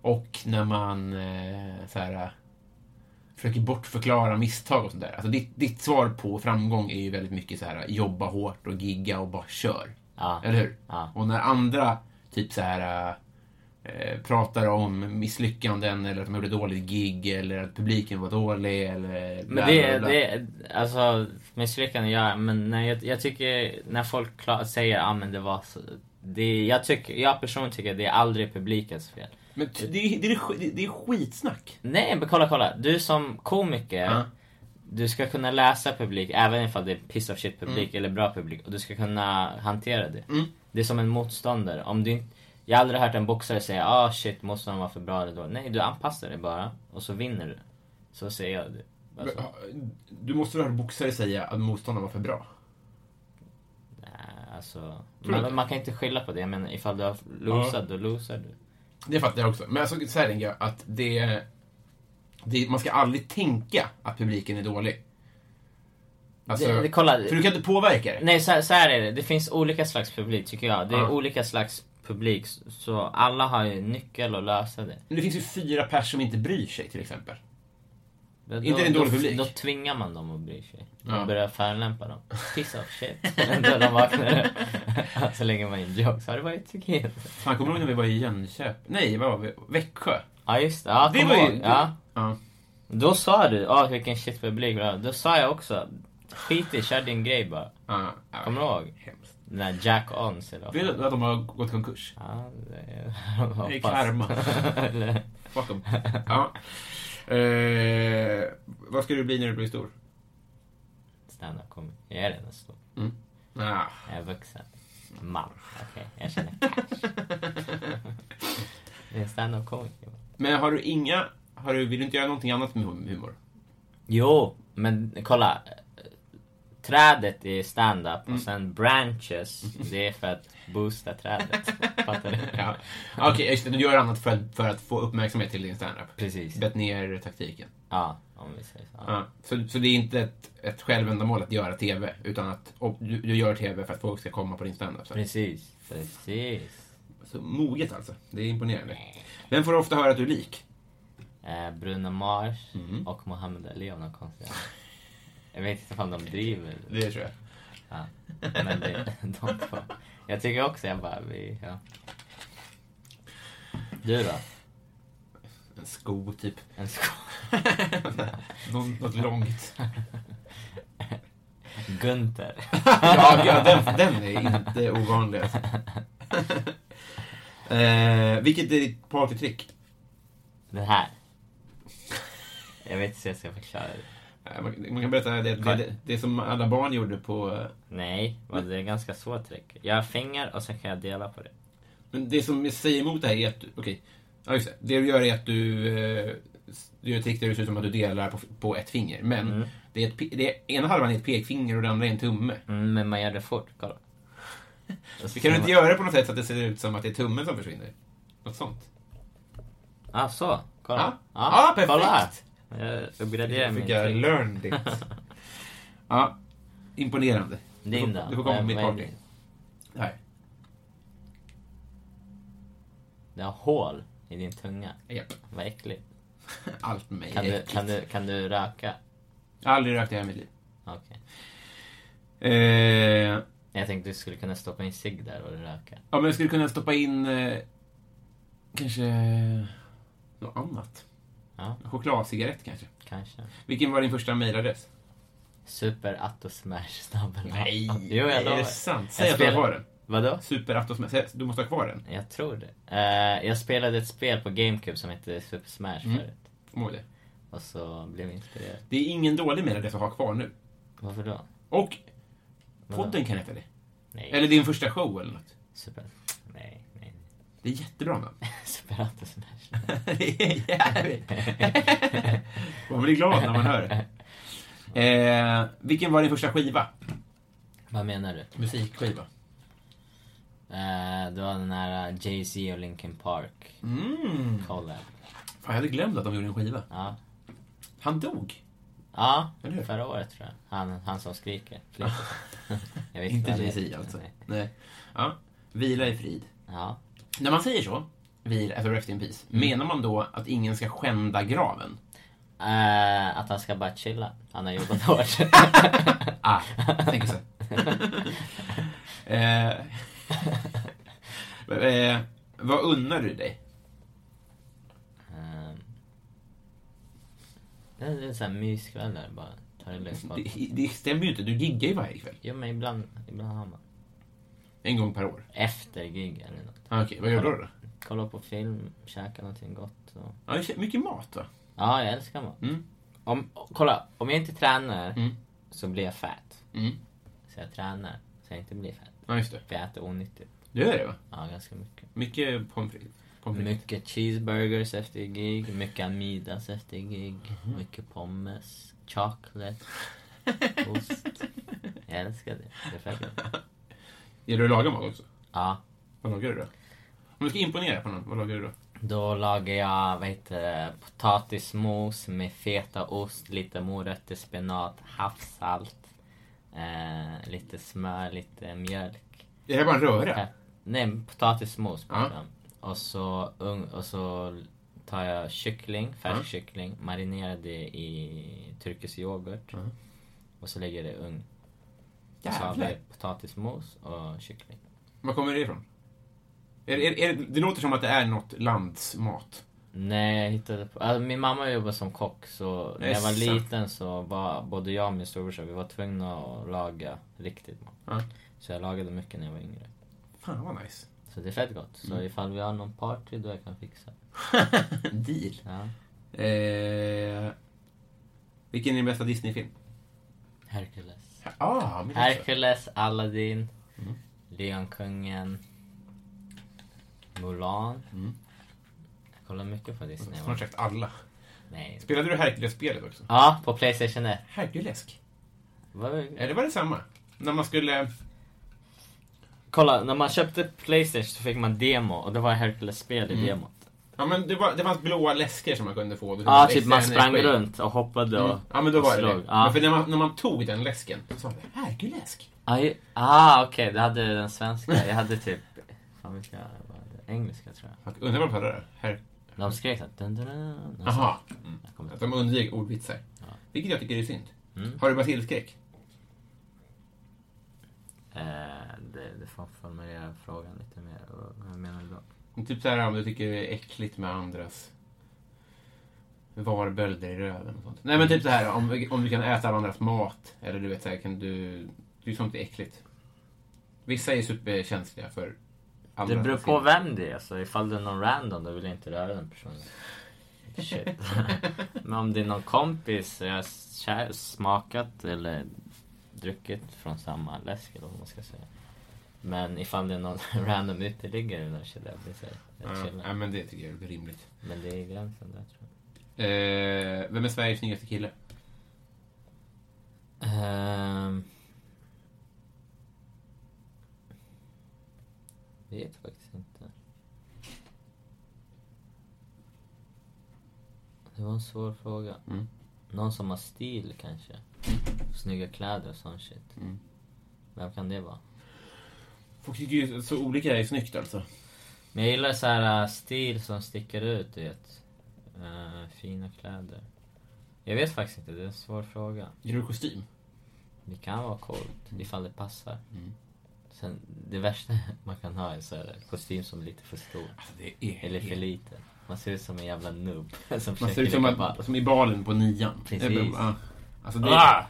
S1: och när man eh, så här, eh, försöker bortförklara misstag och sånt där. Alltså ditt, ditt svar på framgång är ju väldigt mycket så här eh, jobba hårt och gigga och bara kör.
S2: Ja.
S1: Eller hur?
S2: Ja.
S1: Och när andra typ så här eh, pratar om misslyckanden eller att de gjorde dåligt gig eller att publiken var dålig eller bla,
S2: Men det,
S1: bla, bla.
S2: det, alltså misslyckande gör jag, men när jag, jag tycker när folk klar, säger ah, men det var så. Det, jag, tycker, jag personligen tycker det är aldrig publikens fel.
S1: Men t- det, är- det, är, sk- det, det är skitsnack.
S2: Nej men kolla kolla, du som komiker
S1: Ja.
S2: Du ska kunna läsa publik även ifall det är piss of shit publik eller bra publik och du ska kunna hantera det. Det är som en motståndare. Om du, inte- jag har aldrig hört en boxare säga ah shit motståndaren var för bra eller dålig. Nej du anpassar dig bara och så vinner du. Så ser jag det. Alltså,
S1: Du måste väl höra boxare säga att motståndaren var för bra?
S2: nej, alltså,
S1: Tror du
S2: man,
S1: det?
S2: man kan inte skylla på det. Jag menar ifall du har losat då losar du.
S1: Det fattar jag också. Men alltså, så här tänker jag att det... det, man ska aldrig tänka att publiken är dålig. Alltså,
S2: Det- det- kolla-
S1: för du kan inte påverka det.
S2: Nej, så här, så här är det. Det finns olika slags publik tycker jag. Det är olika slags publik. Så alla har ju nyckel att lösa det.
S1: Men det finns ju fyra pers som inte bryr sig till exempel.
S2: Då,
S1: Inte en
S2: då,
S1: dålig
S2: då-
S1: publik.
S2: Då tvingar man dem att bry sig.
S1: Ja.
S2: Man börjar förolämpa dem. Piss off shit. Då de vaknar upp. Så lägger man in jokes. Har det typ varit okej?
S1: Fan, kommer du ihåg när vi var i Jönköping? Nej, vad var vi? Växjö?
S2: Ja just det. Ja,
S1: Det
S2: kom
S1: var ju-
S2: ihåg. Ja.
S1: Ja.
S2: Då sa du, ah vilken shit publik. bla. Då sa jag också, skit i, kör din grej bara.
S1: ja, ja.
S2: Kommer du ihåg?
S1: Hemskt.
S2: Den där Jack Ons eller vad
S1: Vet
S2: fan.
S1: du att de har gått konkurs?
S2: Ja, det
S1: Det är
S2: hoppas.
S1: karma.
S2: Eller-
S1: Fuck dem. Ja. Eh, vad ska du bli när du blir stor?
S2: Stand-up comedy. Jag är redan stor.
S1: Ah.
S2: Jag är vuxen. Man. Okej, jag känner cash. Det är stand-up comedy.
S1: Men har du inga... Har du, vill du inte göra någonting annat med hum- humor?
S2: Jo, men kolla. eh, Trädet är stand-up
S1: Mm.
S2: och sen branches, det är för att boosta trädet. Fattar du?
S1: Ja. Okej, just det. Du gör annat för att, för att få uppmärksamhet till din standup.
S2: Precis.
S1: Bett ner taktiken.
S2: Ja, om vi säger så.
S1: Ja. Så, så det är inte ett, ett självändamål att göra TV, utan att och du, du gör TV för att folk ska komma på din standup. Så.
S2: Precis, precis.
S1: så moget alltså. Det är imponerande. Vem får ofta höra att du är lik?
S2: Eh, Bruno Mars
S1: Mm.
S2: och Muhammad Ali av någon konstig anledning. Jag vet inte om de driver.
S1: Det tror jag.
S2: Ja, men det, de två. Jag tycker också jag bara, vi, ja. Du då?
S1: En sko, typ.
S2: En sko-
S1: Något, något långt.
S2: Gunther.
S1: ja, ja den, den är inte ovanlig. Alltså. eh, vilket är ditt partytrick?
S2: Den här. Jag vet inte hur jag ska förklara det.
S1: Eh, Man, man kan berätta det, det, det som alla barn gjorde på... eh,
S2: Nej, men det är ganska svårt trick. Jag har fingrar och sen kan jag dela på det.
S1: Men det som jag säger emot det här är att du... Okej. Ja, just det. Det du gör är att du... eh, Du gör ett trick där det ser ut som att du delar på, på ett finger. Men det är ett, pe- det är, ena halvan är ett pekfinger och den andra är en tumme.
S2: Mm, men man gör det fort, kolla. Och
S1: Kan du
S2: så ser
S1: inte
S2: man-
S1: göra det på något sätt så att det ser ut som att det är tummen som försvinner? Något sånt?
S2: Ah, så. Kolla.
S1: Ja. Ja, perfekt.
S2: Kolla. Jag uppgraderar min
S1: Fick jag
S2: trick.
S1: learned it. ja, imponerande. Du
S2: Din
S1: får,
S2: då?
S1: du får komma på
S2: Vad-
S1: mitt
S2: vad är
S1: party.
S2: din?
S1: Här.
S2: Det har hål i din tunga.
S1: Japp.
S2: Vad äckligt.
S1: Allt med mig
S2: Kan
S1: är
S2: du,
S1: äckligt.
S2: kan du, kan du röka?
S1: Jag har aldrig rökt i hela mitt liv.
S2: Okej.
S1: Eh,
S2: Jag tänkte du skulle kunna stoppa in cigg där och röka.
S1: ja, men jag skulle kunna stoppa in eh, kanske något annat.
S2: Ja,
S1: En Chokladcigarett kanske.
S2: kanske.
S1: Vilken var din första mejladress?
S2: Superattosmash-snabel. Jo, jag
S1: Är
S2: lovar.
S1: det sant? Säg
S2: Jag
S1: att du har
S2: spelar-
S1: kvar den.
S2: Vadå?
S1: Superattosmäss. Säg- Du måste ha kvar den.
S2: Jag tror det. Eh, jag spelade ett spel på GameCube som hette Super Smash
S1: Mm.
S2: förut.
S1: Kom ihåg det.
S2: Och så blev jag inspirerad.
S1: Det är ingen dålig mejladress att ha kvar nu.
S2: Varför då?
S1: Och podden kan heta det.
S2: Nej.
S1: Eller din första show eller något.
S2: Super... Nej, nej.
S1: Det är jättebra namn.
S2: Superattosmash.
S1: Det är jävligt. Man blir glad när man hör det. Eh, vilken var din första skiva?
S2: Vad menar du?
S1: Musikskiva.
S2: Eh, det var den här eh, Jay-Z och Linkin Park.
S1: Mm.
S2: Collab.
S1: Fan, jag hade glömt att de gjorde en skiva.
S2: Ja.
S1: Han dog.
S2: Ja,
S1: Eller hur?
S2: förra året tror jag. Han, han som skriker. jag vet
S1: Inte
S2: vad han
S1: Jay-Z
S2: heter.
S1: alltså.
S2: Nej.
S1: Nej. Ja. Vila i frid.
S2: Ja.
S1: När man säger så, vila, alltså rest in peace,
S2: Mm.
S1: menar man då att ingen ska skända graven?
S2: Eh, att han ska bara chilla. Han har jobbat hårt.
S1: Ah, jag tänker så. eh, eh, vad unnar du dig?
S2: Ehm. Det är en sån här myskväll där bara. Ta det lugnt. bara.
S1: Alltså, Det, det stämmer ju inte, du giggar ju varje kväll.
S2: Jo men ibland, ibland har man.
S1: En gång per år.
S2: Efter gig eller något.
S1: Ah, Okej, vad gör du då?
S2: Kolla på film, käka någonting gott. Och...
S1: Ja, det är mycket mat va?
S2: Ja, jag älskar mat.
S1: Mm.
S2: Om, kolla, om jag inte tränar så blir jag fett.
S1: Mm.
S2: Så jag tränar så jag inte blir fett.
S1: Ja, just det.
S2: För jag äter onyttigt.
S1: Du gör det va?
S2: Ja, ganska mycket.
S1: Mycket pommes frites. Pommes frites.
S2: Mycket cheeseburgers efter gig, mycket Amidas efter gig, mycket pommes, chocolate, ost. Jag älskar det. Det är fett.
S1: Gillar du att laga mat också?
S2: Ja.
S1: Vad lagar du då? Om du ska imponera på någon, vad lagar du då?
S2: Då lagar jag, vad heter det, potatismos med fetaost, lite morötter, spenat, havssalt, eh, lite smör, lite mjölk.
S1: Det här är bara en röra.
S2: Pep- Eh, Nej, potatismos.
S1: Ja.
S2: pratar jag om. Och, så, ung- och så tar jag kyckling, färsk kyckling, marinerar det i turkisk yoghurt. Och så lägger jag det i ugn. Och Så har vi
S1: Jävlar.
S2: potatismos och kyckling.
S1: Var kommer det ifrån? Är, är, är, det låter som att det är något landsmat.
S2: Nej, jag hittade på... Alltså, min mamma jobbar som kock så när jag var
S1: Jaså.
S2: liten så var både jag och min storebrorsa, vi var tvungna att laga riktigt mat.
S1: Ja.
S2: Så jag lagade mycket när jag var yngre.
S1: Fan vad nice.
S2: Så det är fett gott.
S1: Mm.
S2: Så ifall vi har någon party då jag kan fixa.
S1: Deal.
S2: Ja.
S1: Eh, vilken är din bästa Disney-film?
S2: Hercules.
S1: Ah, men det är så.
S2: Hercules, Aladdin, Lejonkungen, Mulan. Jag kollar mycket på Disney.
S1: Snart sagt alla.
S2: Nej.
S1: Spelade du Hercules-spelet också?
S2: Ja, på Playstation 1.
S1: Herculesk?
S2: Vad-
S1: Eller var det samma? När man skulle...
S2: Kolla, när man köpte Playstation så fick man demo och det var Hercules-spel i demot.
S1: Ja, men det, var, det fanns blåa läskor som man kunde få. Då
S2: Ja,
S1: fick
S2: typ man
S1: extra
S2: sprang
S1: energi.
S2: runt och hoppade och
S1: Ja, men då
S2: och
S1: var det
S2: slog.
S1: det.
S2: Ja.
S1: Men för när man, när man tog den läsken så sa det Herculesk.
S2: Ah, ju- ah okej, du hade den svenska. Jag hade typ... Fan, vilka var det? Engelska tror jag.
S1: Fuck, Undrar vad de hörde det. Her-
S2: De skrek såhär... Dun, dun, dun, dun.
S1: Aha.
S2: Jag kommer
S1: Att
S2: inte-
S1: de undvek ordvitsar. Vilket jag tycker är synd.
S2: Mm.
S1: Har du basilskräck?
S2: Eh, det, det får formulera frågan lite mer. Vad- Vad menar du då?
S1: Typ så här om du tycker det är äckligt med andras varbölder i röven och sånt. Nej men typ så här om, om du kan äta av andras mat. Eller du vet så här kan du... Du sånt är äckligt. Vissa är superkänsliga för andra.
S2: Det beror på vem det är. Så ifall det är någon random då vill jag inte röra den personen. Shit. Men om det är någon kompis jag har kär, smakat eller druckit från samma läsk eller vad man ska säga. Men ifall det är någon random uteliggare då känner jag blir så här, jag
S1: Ja,
S2: chillar.
S1: ja, men det tycker jag är rimligt.
S2: Men det är gränsen där tror jag.
S1: Eh, vem är Sveriges snyggaste kille?
S2: Ehm. Vet faktiskt inte. Det var en svår fråga.
S1: Mm.
S2: Någon som har stil kanske. Snygga kläder och sån shit.
S1: Mm.
S2: Vem kan det vara?
S1: Folk tycker ju så olika är snyggt alltså.
S2: Men jag gillar så här äh, stil som sticker ut, du vet. Äh, fina kläder. Jag vet faktiskt inte, det är en svår fråga.
S1: Gillar du kostym?
S2: Det kan vara coolt ifall det passar.
S1: Mm.
S2: Sen, det värsta man kan ha är så här, kostym som är lite för stor.
S1: Alltså, det är
S2: Eller för liten. Man ser ut som en jävla nubb. Som
S1: Man ser
S2: försöker
S1: ut som,
S2: leka
S1: att,
S2: ball.
S1: som i balen på nian.
S2: Precis.
S1: Det är bara- ja. Alltså, det,
S2: Ah!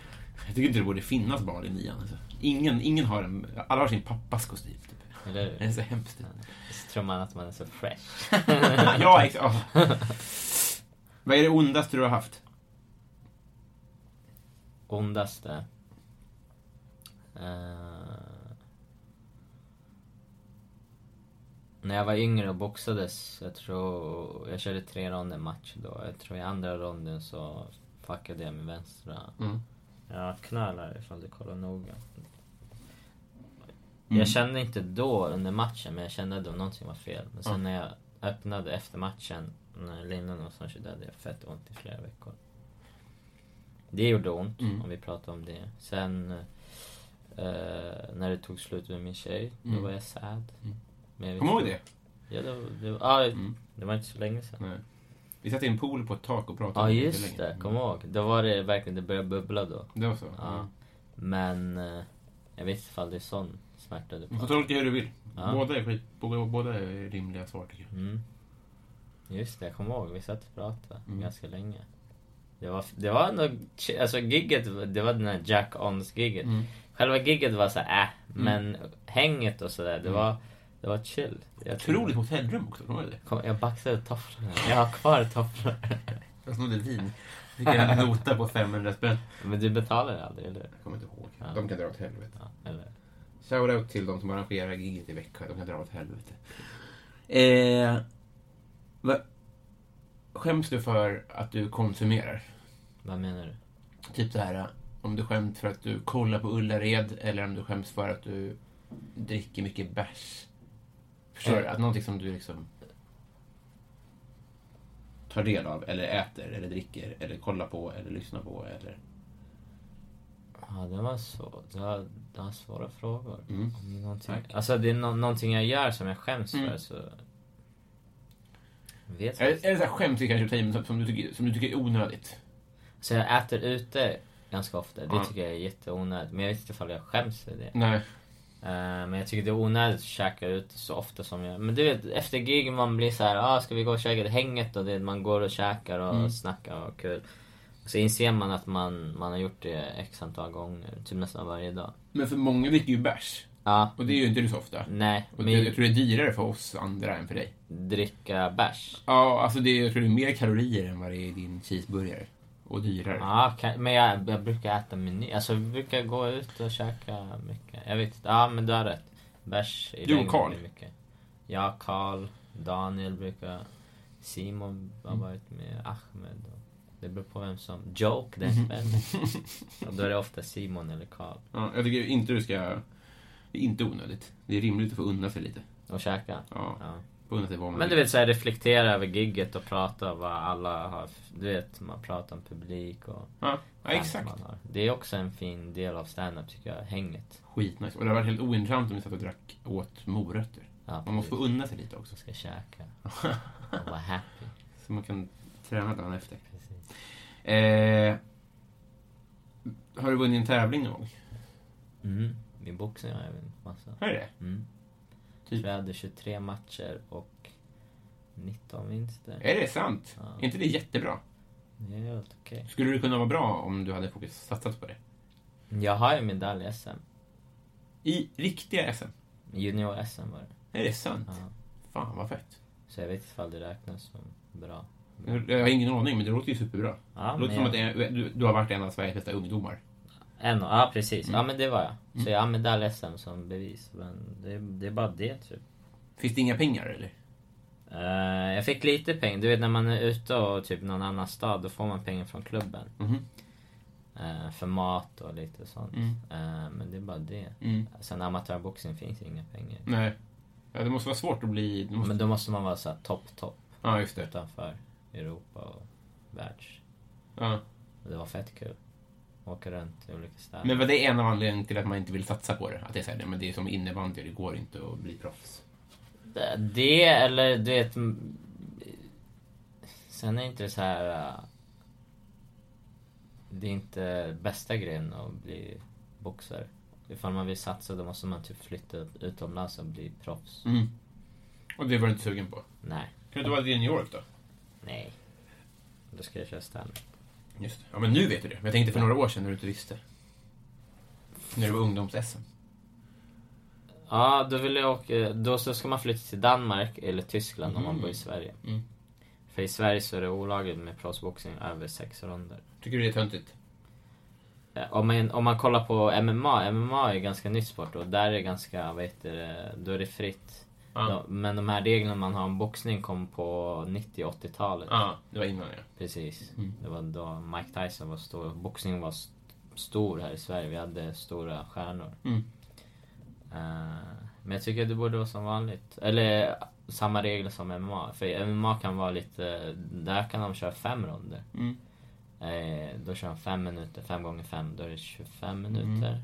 S1: Jag tycker inte det borde finnas bal i nian. Alltså. Ingen, ingen har en, alla har sin pappas kostym. Typ.
S2: Eller
S1: Det är
S2: hur?
S1: så hemskt.
S2: Så tror man att man är så fresh.
S1: ja, ex- ja. Vad är det ondaste du har haft?
S2: Ondaste. Eh, när jag var yngre och boxades, jag tror... Jag körde tre ronder match då. Jag tror i andra ronden så fuckade jag med vänstra
S1: Mm.
S2: Ja, knölar ifall du kollar noga. Jag kände inte då under matchen, men jag kände att någonting var fel. Men sen när jag öppnade efter matchen, när linan och sånt, så hade jag fett ont i flera veckor. Det gjorde ont, om vi pratar om det. Sen eh, när det tog slut med min tjej, då var jag sad. Men jag
S1: Kommer du ihåg
S2: visste-
S1: det? Mm,
S2: Ja, det, var- det, var- ah, det var inte så länge sedan.
S1: Nej. Vi satt i en pool på ett tak och
S2: Ja,
S1: pratade om
S2: just
S1: jättelänge.
S2: det. Kom ihåg. Då var det verkligen, det började bubbla då.
S1: Det var så.
S2: Ja. Men eh, jag vet inte ifall det är sån smärta du
S1: Du får
S2: pratar om.
S1: tolka hur du vill.
S2: Ja.
S1: Båda, är skit, båda, båda är rimliga svar tycker jag.
S2: Mm. Just det, jag kommer ihåg. Vi satt och pratade ganska länge. Det var, det var ändå, alltså gigget, det var den här Jack Ons gigget. Själva gigget var så här, äh, men hänget och sådär, det var, det var chill. Jag
S1: Otroligt hotellrum också, kommer du ihåg det?
S2: Kom, jag baxade tofflorna. Jag har kvar tofflor.
S1: Jag snodde vin. Fick en nota på 500 spänn.
S2: Men du betalade aldrig, eller hur?
S1: Jag kommer inte ihåg. De kan dra åt helvete.
S2: Ja, eller?
S1: Shoutout till de som arrangerar giget i Växjö. De kan dra åt helvete. Eh, va, skäms du för att du konsumerar?
S2: Vad menar du?
S1: Typ så här, om du skäms för att du kollar på Ullared eller om du skäms för att du Eh. dricker mycket bärs. Förstår du? Att någonting som du liksom... tar del av, eller äter, eller dricker, eller kollar på, eller lyssnar på, eller...
S2: Ja, det var så. Det var, det var svåra frågor.
S1: Mm.
S2: Om det är någonting, alltså det är no- någonting jag gör som jag skäms för
S1: Mm.
S2: så... Jag Vet
S1: Eller,
S2: jag.
S1: eller så här skämt kanske att ta i, men som du tycker, som du tycker är onödigt.
S2: Så jag äter ute ganska ofta. Det
S1: Ja. Mm.
S2: tycker jag är jätteonödigt. Men jag vet inte ifall jag skäms för det.
S1: Nej.
S2: Eh, Men jag tycker det är onödigt att käka ut så ofta som jag... Men du vet, efter gig man blir så här, ah, ska vi gå och käka till hänget? Och det, man går och käkar och
S1: Mm.
S2: snackar och kul. Och så inser man att man, man har gjort det x antal gånger, typ nästan varje dag.
S1: Men för många dricker ju bärs.
S2: Ja,
S1: Och det är ju inte du så ofta.
S2: nej.
S1: Och
S2: Men
S1: det, jag tror det är dyrare för oss andra än för dig.
S2: dricka bärs.
S1: Ja, alltså det, jag tror det är mer kalorier än vad det är i din cheeseburgare. Och dyrare.
S2: Ja, kan, men jag, jag brukar äta meny. Alltså vi brukar gå ut och käka mycket. Jag vet inte, ja men du har rätt. Bärs
S1: Du
S2: i
S1: och
S2: längden
S1: Carl.
S2: blir mycket. Ja, Karl, Daniel brukar... Simon har
S1: Mm.
S2: varit med, Ahmed. Och, det beror på vem som... Joke den
S1: Mm-hmm.
S2: kvällen. och då är det ofta Simon eller Karl.
S1: Ja, jag tycker inte du ska... Det är inte onödigt. Det är rimligt att få unna sig lite.
S2: Och käka.
S1: Ja.
S2: Ja.
S1: Få unna sig vad man
S2: Men du
S1: vill.
S2: vet såhär reflektera över gigget och prata vad alla har... Du vet, man pratar om publik och...
S1: Ja, ja exakt.
S2: man har. Det är också en fin del av stand-up tycker jag, hänget.
S1: Skitnice. Och det hade varit helt ointressant om vi satt och drack åt morötter.
S2: Ja,
S1: Man måste få
S2: precis.
S1: unna sig lite också.
S2: ska käka och vara happy.
S1: Så man kan träna dagen efter.
S2: Precis.
S1: Eh, har du vunnit en tävling någon gång?
S2: Mm. Min boxning har jag vunnit massa.
S1: Har du det?
S2: Mm.
S1: Typ.
S2: Typ. Jag hade 23 matcher och 19 vinster.
S1: Är det sant?
S2: Ja.
S1: Är inte det jättebra?
S2: Det är helt okej.
S1: Skulle du kunna vara bra om du hade fokus, satsat på det?
S2: Jag har ju medalj i SM.
S1: I riktiga SM?
S2: Junior-SM var det.
S1: Är det sant?
S2: Ja.
S1: Fan vad fett.
S2: Så jag vet inte ifall det räknas som bra.
S1: Jag har ingen aning, men det låter ju superbra.
S2: Ja,
S1: det låter
S2: men
S1: som
S2: jag-
S1: att det är, du, du har varit en av Sveriges bästa ungdomar.
S2: En, ja precis, ja men det var jag. Så jag har medalj i SM som bevis. Men det, det är bara det typ.
S1: Finns det inga pengar eller?
S2: Eh, jag fick lite pengar. Du vet när man är ute och typ någon annan stad, då får man pengar från klubben.
S1: Mhm.
S2: Eh, för mat och lite sånt.
S1: Mm.
S2: Eh, men det är bara det.
S1: Mm.
S2: Sen amatörboxning finns inga pengar.
S1: Nej. Ja, det måste vara svårt att bli... Mm, Det måste...
S2: Men då måste man vara så här topp, topp
S1: Ja, just det.
S2: utanför Europa och världs.
S1: Ja.
S2: Och det var fett kul. Åka runt i olika städer.
S1: Men var det en av anledningarna till att man inte vill satsa på det? Att det är så här, nej, men det är som innebandy, det går inte att bli proffs.
S2: Det- Det eller du vet... m- Sen är inte det så här... äh, Det är inte bästa grejen att bli boxare. Ifall man vill satsa då måste man typ flytta utomlands och bli proffs.
S1: Mm. Och det var du inte sugen på?
S2: Nej,
S1: Kan du inte vara det i New York då?
S2: nej. Då ska jag köra stand
S1: Just det. Ja, men nu vet du det. Men jag tänkte för några år sedan när du inte visste. När det var ungdoms-SM.
S2: Ja, då vill jag åka, Då så ska man flytta till Danmark eller Tyskland om man bor i Sverige.
S1: Mm.
S2: För i Sverige så är det olagligt med proffsboxning över sex ronder.
S1: Tycker du det är töntigt?
S2: Eh, Om man, om man kollar på MMA, MMA är ju ganska nytt sport och där är det ganska, vad heter det, då är det fritt.
S1: Ja.
S2: Ja, Men de här reglerna man har om boxning kom på 90 och 80-talet.
S1: Ja, Mm. det var innan ja.
S2: Precis. Det var då Mike Tyson var stor. Boxning var st- stor här i Sverige. Vi hade stora stjärnor.
S1: Mm.
S2: Eh, men jag tycker det borde vara som vanligt. Eller samma regler som MMA. För MMA kan vara lite... Där kan de köra fem ronder.
S1: Mm.
S2: Eh, då kör de fem minuter, fem gånger fem. Då är det 25 minuter.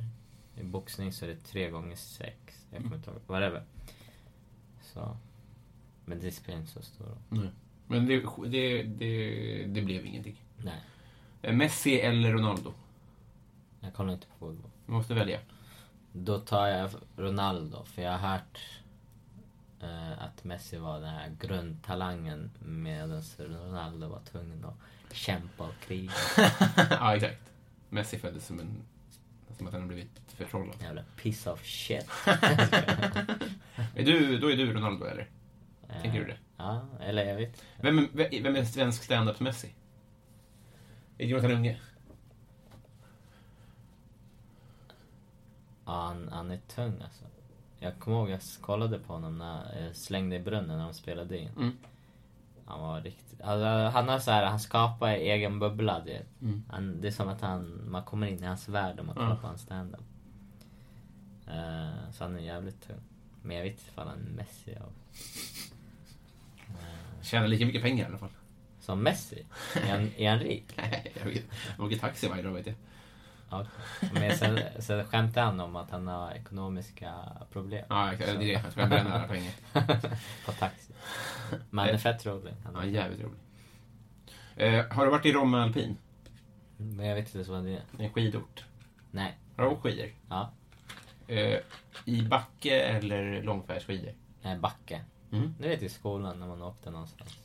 S2: I boxning så är det tre gånger sex. Jag kommer inte ihåg. Whatever. Så. Men det spelar inte så stor roll.
S1: Nej. Men det, det, det, det blev ingenting.
S2: Nej.
S1: Eh, Messi eller Ronaldo?
S2: Jag kollar inte på fotboll.
S1: Du måste välja.
S2: Då tar jag Ronaldo, för jag har hört eh, att Messi var den här grundtalangen medan Ronaldo var tvungen att kämpa och kriga.
S1: ja, exakt. Messi föddes som en... Som att han har blivit förtrollad.
S2: Jävla piece of shit.
S1: Är du, då är du Ronaldo, eller? Tänker du det?
S2: Eh, Ja, eller jag vet
S1: Vem, är- vem är svensk standup-Messi? Är det Jonathan Unge?
S2: ja, han, han är tung alltså. Jag kommer ihåg jag kollade på honom när jag slängde i brunnen när de spelade in.
S1: Mm.
S2: Han var riktigt... Alltså, han har så här, han skapar egen bubbla du vet. Han, det är som att han, man kommer in i hans värld om man kollar
S1: Mm. Ja.
S2: på hans standup. Eh, så han är jävligt tung. Men jag vet inte ifall han är Messi av...
S1: Tjänar lika mycket pengar i alla fall.
S2: Som Messi? Är han, är han rik?
S1: Nej, jag vet. Jag åker taxi varje dag, vet jag.
S2: Ja, men sen, sen skämtar han om att han har ekonomiska problem.
S1: Ja, exakt. Det är det. Jag ska bränna alla pengar.
S2: På taxi. Men han är fett rolig. Han,
S1: Ja, jävligt rolig. Eh, har du varit i Romme Alpin?
S2: Men jag vet inte vad det är.
S1: En skidort.
S2: Nej.
S1: Har du åkt skidor?
S2: Ja.
S1: Eh, I backe eller långfärdsskidor?
S2: Nej, backe.
S1: Mm.
S2: Du vet i skolan när man åkte någonstans.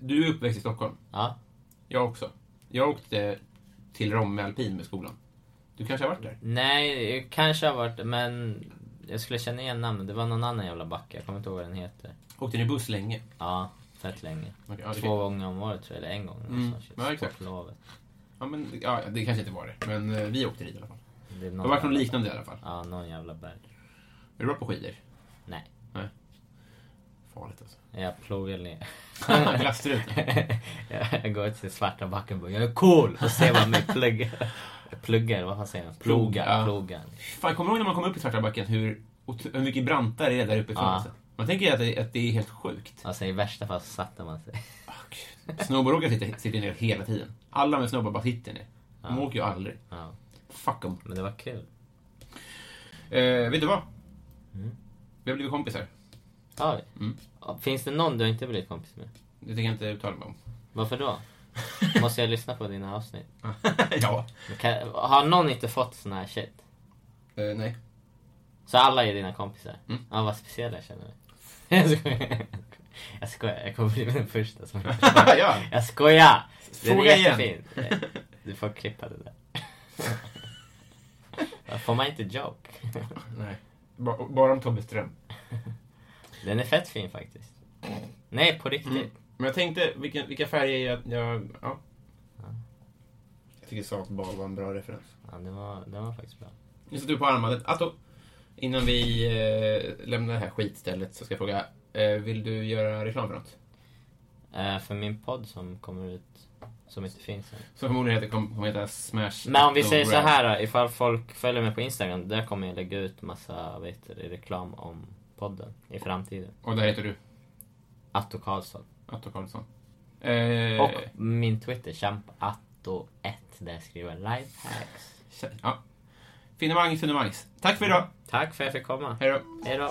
S1: Du är uppväxt i Stockholm.
S2: Ja.
S1: Jag också. Jag åkte till Romme Alpin med skolan. Du kanske har varit där?
S2: Nej, jag kanske har varit men jag skulle känna igen namnet. Det var någon annan jävla backe. Jag kommer inte ihåg vad den heter.
S1: Åkte ni buss länge?
S2: Ja, fett länge.
S1: Okej, ja, det-
S2: Två gånger om året tror jag, eller en gång.
S1: Mm,
S2: någonstans.
S1: ja, exakt.
S2: På lovet.
S1: Ja, men, ja, det kanske inte var det. Men eh, vi åkte dit i alla fall.
S2: Det, är
S1: Det
S2: någon
S1: har varit något
S2: jävla-
S1: liknande i alla fall.
S2: Ja, någon jävla berg.
S1: Är du bra på skidor?
S2: Nej,
S1: Farligt alltså.
S2: jag plogar ner.
S1: Ah, Glasstruten.
S2: jag går till svarta backen och bara, jag är cool! Och ser vad mig pluggar. Pluggar, vad fan säger man? Plogar,
S1: Plog, ja.
S2: plogar.
S1: Fan, kommer du ihåg när man kom upp i Svarta backen hur, otro- hur mycket brantare det är där uppifrån?
S2: Ja.
S1: Alltså? Man tänker ju att det, att det är helt sjukt.
S2: Alltså i värsta fall så satte man sig.
S1: Oh, Snowboardåkare sitter, sitter ner hela tiden. Alla med snowboard bara sitter ner. De åker ju aldrig.
S2: Ja,
S1: Fuck dem.
S2: men det var kul.
S1: Eh, vet du vad? Vi har blivit kompisar.
S2: Har vi?
S1: Mm.
S2: Finns det någon du inte blivit kompis med?
S1: Det tänker jag inte uttala mig om.
S2: Varför då? Måste jag lyssna på dina avsnitt?
S1: ja.
S2: Kan, har någon inte fått sån här shit?
S1: Eh, nej.
S2: Så alla är dina kompisar?
S1: Mm.
S2: Ja, vad speciella jag känner mig. Jag skojar. Jag skojar, jag kommer bli den första som...
S1: ja.
S2: Jag skojar! Den
S1: Fråga
S2: är
S1: igen.
S2: jättefin. Du får klippa det där. Får man inte joke?
S1: nej. Ba- bara om Tobbe Ström.
S2: Den är fett fin faktiskt. Nej, på riktigt.
S1: Men jag tänkte, vilka, vilka färger jag... jag ja. Jag tycker Sakbal var en bra referens.
S2: Ja, den var, den var faktiskt bra.
S1: Nu sätter du på armbandet. Atto, innan vi eh, lämnar det här skitstället så ska jag fråga. Eh, vill du göra reklam för något?
S2: Eh, för min podd som kommer ut, som inte finns än.
S1: Som förmodligen heter, kommer kommer heta Smash...
S2: Men om vi
S1: Atto
S2: säger så
S1: Grab.
S2: här då, ifall folk följer mig på Instagram, där kommer jag lägga ut massa vet, du, reklam om podden i framtiden.
S1: Och där heter du
S2: Atto Karlsson.
S1: Atto Karlsson. Eh,
S2: Och min Twitter, kämpa Atto1, där jag skriver lifehacks.
S1: Ja. Finemangs, finemangs. Tack för idag.
S2: Tack för att jag fick komma.
S1: Hej då.
S2: Hej då.